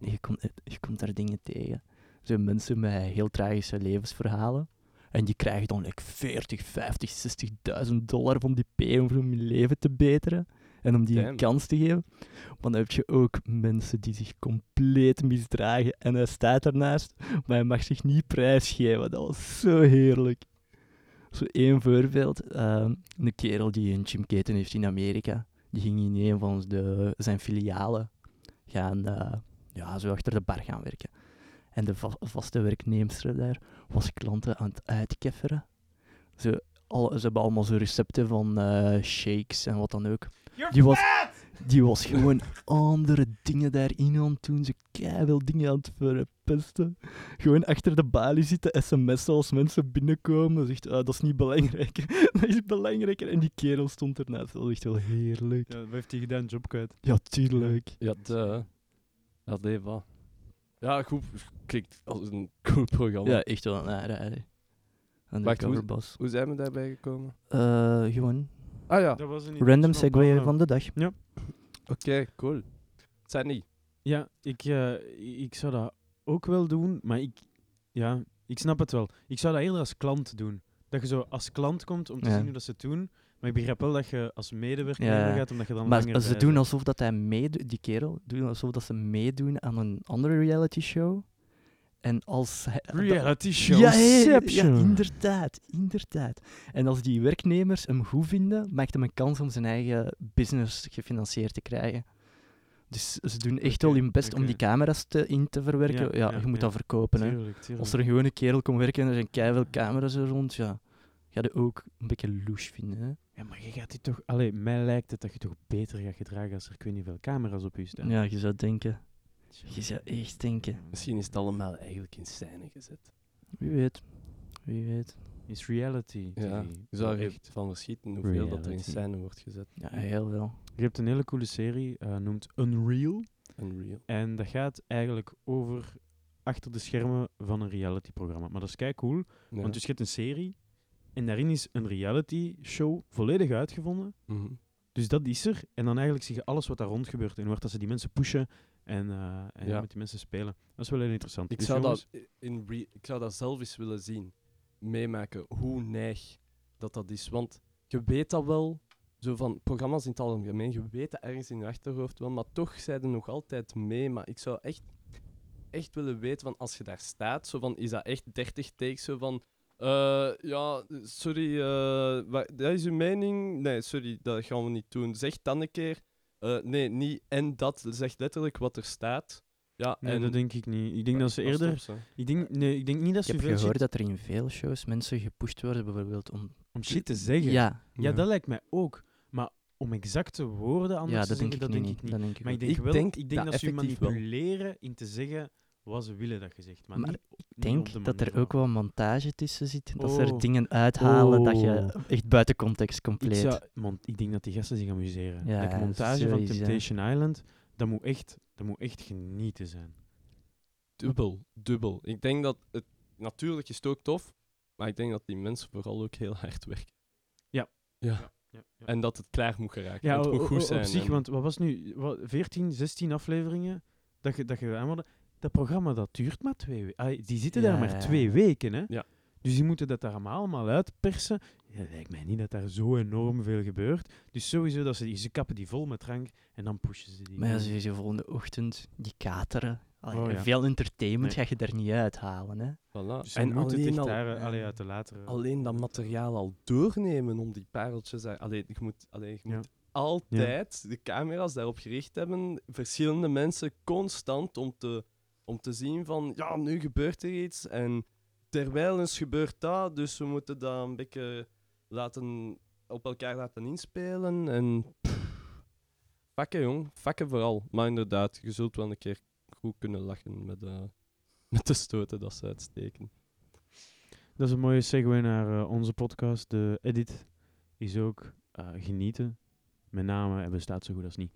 Speaker 1: En je komt, je komt daar dingen tegen. Zo mensen met heel tragische levensverhalen. En die krijgen dan like 40, 50, 60.000 dollar om die P om hun leven te beteren. En om die een
Speaker 2: Damn.
Speaker 1: kans te geven. Maar dan heb je ook mensen die zich compleet misdragen. En hij staat ernaast, maar hij mag zich niet prijsgeven. Dat was zo heerlijk. Zo één voorbeeld. ehm, een kerel die een Jim Keten heeft in Amerika. Die ging in een van de, zijn filialen gaan, eh, ja, zo achter de bar gaan werken. En de va- vaste werknemster daar was klanten aan het uitkefferen. Ze, al, ze hebben allemaal zo recepten van eh, shakes en wat dan ook. Die was, die was gewoon andere dingen daarin aan het doen. Ze veel dingen aan het verpesten. Gewoon achter de balie zitten, sms'en als mensen binnenkomen. Zegt, ah, dat is niet belangrijk. dat is belangrijker. En die kerel stond ernaast. Dat was echt wel heerlijk.
Speaker 3: Ja, wat heeft hij gedaan? Job kwijt.
Speaker 1: Ja, tuurlijk.
Speaker 2: Ja, de. Ja, nee, eh, wat. Ja, goed. Klinkt als een cool programma.
Speaker 1: Ja, echt wel een aanrader. Undercover
Speaker 2: hoe-
Speaker 1: Boss.
Speaker 2: Hoe zijn we daarbij gekomen?
Speaker 1: Eh, gewoon
Speaker 2: Ah ja, oké,
Speaker 3: Dat was een
Speaker 1: random segue van de dag.
Speaker 2: cool. Het zijn niet.
Speaker 3: Ja, ik, eh, ik zou dat ook wel doen, maar ik, ja, ik snap het wel. Ik zou dat eerder als klant doen. Dat je zo als klant komt om te
Speaker 1: Ja.
Speaker 3: zien hoe dat ze het doen. Maar ik begrijp wel dat je als medewerker
Speaker 1: Ja.
Speaker 3: mee gaat, omdat je dan langer
Speaker 1: Maar ze
Speaker 3: bij
Speaker 1: doen
Speaker 3: bent.
Speaker 1: alsof dat hij meedoet, die kerel, doen alsof dat ze meedoen aan een andere reality show. En als hij, dat-
Speaker 3: Reality show.
Speaker 1: Ja, hé,
Speaker 3: Inception.
Speaker 1: ja, inderdaad, inderdaad. En als die werknemers hem goed vinden, maakt hem een kans om zijn eigen business gefinancierd te krijgen. Dus ze doen echt wel
Speaker 3: Oké,
Speaker 1: hun best om
Speaker 3: oké.
Speaker 1: die camera's te, in te verwerken.
Speaker 3: Ja,
Speaker 1: Ja,
Speaker 3: ja,
Speaker 1: je moet
Speaker 3: ja.
Speaker 1: dat verkopen. Hè.
Speaker 3: Tuurlijk, tuurlijk.
Speaker 1: Als er een gewone kerel komt werken en er zijn keihard camera's er rond, ja, ga je ook een beetje louche vinden. Hè.
Speaker 3: Ja, maar je gaat die toch... Allee, mij lijkt het dat je toch beter gaat gedragen als er ik weet niet veel camera's op je staan.
Speaker 1: Ja, je zou denken. Je zou echt denken.
Speaker 2: Misschien is het allemaal eigenlijk in scène gezet.
Speaker 1: Wie weet. Wie weet.
Speaker 3: Is reality
Speaker 2: Ja,
Speaker 3: TV
Speaker 2: je zou er
Speaker 3: echt...
Speaker 2: echt van verschieten hoeveel dat er in
Speaker 3: Reality.
Speaker 2: scène wordt gezet.
Speaker 1: Ja, heel wel.
Speaker 3: Je hebt een hele coole serie, eh, noemt Unreal.
Speaker 2: Unreal.
Speaker 3: En dat gaat eigenlijk over achter de schermen van een realityprogramma. Maar dat is kei cool,
Speaker 2: Ja.
Speaker 3: want dus je hebt een serie en daarin is een reality show volledig uitgevonden.
Speaker 2: Mhm.
Speaker 3: Dus dat is er. En dan eigenlijk zie je alles wat daar rond gebeurt en hoe hard dat ze die mensen pushen en, eh, en
Speaker 2: Ja.
Speaker 3: met die mensen spelen. Dat is wel heel interessant.
Speaker 2: Ik
Speaker 3: Dus
Speaker 2: zou,
Speaker 3: jongens,
Speaker 2: dat in re- ik zou dat zelf eens willen zien. Meemaken hoe neig dat dat is. Want je weet dat wel, zo van programma's in het algemeen, je weet dat ergens in je achterhoofd wel, maar toch zijn er nog altijd mee. Maar ik zou echt, echt willen weten, van als je daar staat, zo van, is dat echt 30 takes zo van... eh, ja, sorry, eh, wa- dat is uw mening? Nee, sorry, dat gaan we niet doen. Zeg dan een keer... eh, nee, niet en dat. Zeg letterlijk wat er staat. Ja,
Speaker 3: Nee,
Speaker 2: en
Speaker 3: dat denk ik niet. Ik denk dat ze
Speaker 2: is
Speaker 3: eerder...
Speaker 2: top, zo.
Speaker 3: Ik denk, nee, ik denk niet dat
Speaker 1: Eh, Ik heb
Speaker 3: ze veel
Speaker 1: gehoord
Speaker 3: zit
Speaker 1: dat er in veel shows mensen gepusht worden, bijvoorbeeld om...
Speaker 3: om shit te zeggen.
Speaker 1: Ja,
Speaker 3: Ja, dat lijkt mij ook. Maar om exacte woorden anders
Speaker 1: ja
Speaker 3: te
Speaker 1: dat denk
Speaker 3: zeggen,
Speaker 1: ik
Speaker 3: dat
Speaker 1: nu
Speaker 3: denk
Speaker 1: niet.
Speaker 3: ik niet.
Speaker 1: Dat denk ik
Speaker 3: Maar ik
Speaker 1: ook
Speaker 3: denk
Speaker 2: Ik
Speaker 3: wel,
Speaker 2: denk
Speaker 3: ik denk
Speaker 2: dat
Speaker 3: dat ze je
Speaker 2: effectief wel.
Speaker 3: manipuleren in te zeggen wat ze willen dat je zegt. Maar,
Speaker 1: Maar
Speaker 3: niet,
Speaker 1: Ik denk dat er ook wel montage tussen zit. Dat ze er
Speaker 3: Oh.
Speaker 1: dingen uithalen dat je
Speaker 3: Oh.
Speaker 1: echt buiten context
Speaker 3: Ik,
Speaker 1: compleet.
Speaker 3: zou, mon- ik denk dat die gasten zich amuseren.
Speaker 1: Ja,
Speaker 3: Like, montage van
Speaker 1: sowieso.
Speaker 3: Temptation Island, dat moet, echt, dat moet echt genieten zijn.
Speaker 2: Dubbel, dubbel. Ik denk dat het natuurlijk is het ook tof, maar ik denk dat die mensen vooral ook heel hard werken.
Speaker 3: Ja.
Speaker 2: Ja.
Speaker 3: Ja,
Speaker 2: En dat het klaar moet geraken.
Speaker 3: Ja,
Speaker 2: en het
Speaker 3: o-
Speaker 2: moet
Speaker 3: o-
Speaker 2: goed
Speaker 3: o-
Speaker 2: zijn.
Speaker 3: op zich,
Speaker 2: en-
Speaker 3: want wat was nu? Wat, 14, 16 afleveringen dat je, dat je aan hadden. Dat programma dat duurt maar twee weken. Die zitten
Speaker 1: Ja,
Speaker 3: daar maar
Speaker 1: ja, ja.
Speaker 3: twee weken, hè?
Speaker 2: Ja.
Speaker 3: Dus die moeten dat daar allemaal- allemaal uitpersen. Ja, lijkt mij niet dat daar zo enorm veel gebeurt. Dus sowieso dat ze, die- ze kappen die vol met drank en dan pushen ze die.
Speaker 1: Maar ja, sowieso volgende ochtend, die kateren. Allee,
Speaker 3: Oh, ja.
Speaker 1: Veel entertainment
Speaker 3: Nee.
Speaker 1: ga je daar niet uithalen. Hè?
Speaker 2: voilà.
Speaker 3: dus ze
Speaker 2: en
Speaker 3: moeten
Speaker 2: alleen,
Speaker 3: dicht
Speaker 2: al-
Speaker 3: daar, eh,
Speaker 2: eh,
Speaker 3: allee, uit de latere.
Speaker 2: alleen dat materiaal al doornemen om die pareltjes... daar- Allee, je moet, allee, je
Speaker 3: Ja.
Speaker 2: moet altijd de camera's daarop gericht hebben. Verschillende mensen constant om te, om te zien van... Ja, nu gebeurt er iets en terwijl eens gebeurt dat. Dus we moeten dat een beetje laten, op elkaar laten inspelen. En pff, vakken, jong. Vakken vooral. Maar inderdaad, je zult wel een keer goed kunnen lachen met, eh, met de stoten dat ze uitsteken.
Speaker 3: Dat is een mooie segue naar eh, onze podcast. De edit is ook eh, genieten. Met name en bestaat zo goed als niet.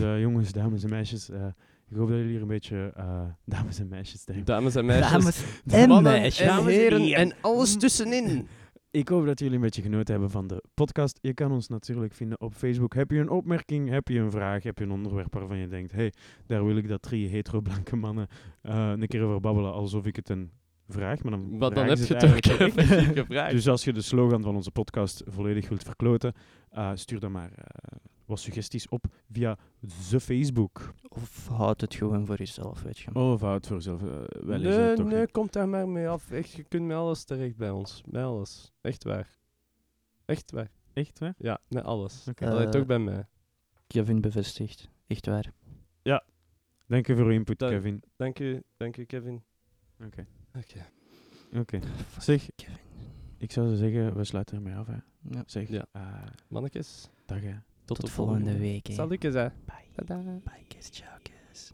Speaker 3: eh, jongens, dames en meisjes, eh, ik hoop dat jullie hier een beetje eh, dames en meisjes denk.
Speaker 2: Dames en meisjes.
Speaker 1: Dames en
Speaker 2: Mannen
Speaker 1: meisjes.
Speaker 2: en heren en alles
Speaker 3: Mm.
Speaker 2: tussenin.
Speaker 3: Ik hoop dat jullie een beetje genoten hebben van de podcast. Je kan ons natuurlijk vinden op Facebook. Heb je een opmerking? Heb je een vraag? Heb je een onderwerp waarvan je denkt: hey, daar wil ik dat drie hetero-blanke mannen eh, een keer over babbelen alsof ik het een vraag. Maar dan,
Speaker 2: Wat dan
Speaker 3: vragen
Speaker 2: heb
Speaker 3: ze
Speaker 2: je toch
Speaker 3: het eigenlijk aan ik.
Speaker 2: effectief gevraagd?
Speaker 3: Dus als je de slogan van onze podcast volledig wilt verkloten, eh, stuur dan maar eh, wat suggesties op via de Facebook.
Speaker 1: Of houd het gewoon voor jezelf, weet je.
Speaker 3: Oh, fout voor zelf. wel
Speaker 2: nee, nee, kom daar maar mee af. Echt, je kunt met alles terecht bij ons. Met alles. Echt waar. Echt waar.
Speaker 3: Echt, hè?
Speaker 2: Ja, met alles.
Speaker 3: Oké.
Speaker 2: Allee,
Speaker 1: Eh,
Speaker 2: toch bij mij.
Speaker 1: Kevin bevestigt. Echt waar.
Speaker 3: Dank je voor uw input,
Speaker 2: Dank-
Speaker 3: Kevin.
Speaker 2: Dank u, dank u Kevin.
Speaker 3: Oké.
Speaker 2: Oké.
Speaker 3: Zeg,
Speaker 1: Kevin.
Speaker 3: ik zou zo zeggen, we sluiten ermee af, hè.
Speaker 1: Ja.
Speaker 3: Zeg,
Speaker 2: Ja.
Speaker 3: eh,
Speaker 2: Mannetjes,
Speaker 3: dag, hè.
Speaker 2: tot,
Speaker 1: Tot
Speaker 2: de volgende,
Speaker 1: volgende week. hè.
Speaker 2: Zal ik eens, hè.
Speaker 1: Bye.
Speaker 2: Tadaa.
Speaker 1: Bye, kiss, ciao, kiss.